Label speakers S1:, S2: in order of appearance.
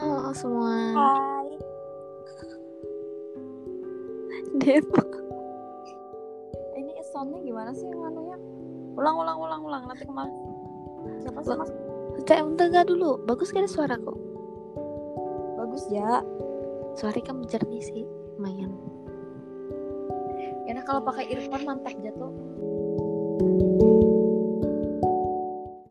S1: Halo semua.
S2: Hai.
S1: Dev. Ini soundnya gimana sih yang anunya?
S2: Ulang, ulang, ulang, ulang. Nanti kemarin. Siapa sih
S1: Ulang.
S2: mas?
S1: Cek bentar nggak dulu. Bagus kan suaraku?
S2: Bagus ya.
S1: Suara kamu jernih sih. Lumayan.
S2: Enak kalau pakai earphone mantap jatuh.
S1: Oke,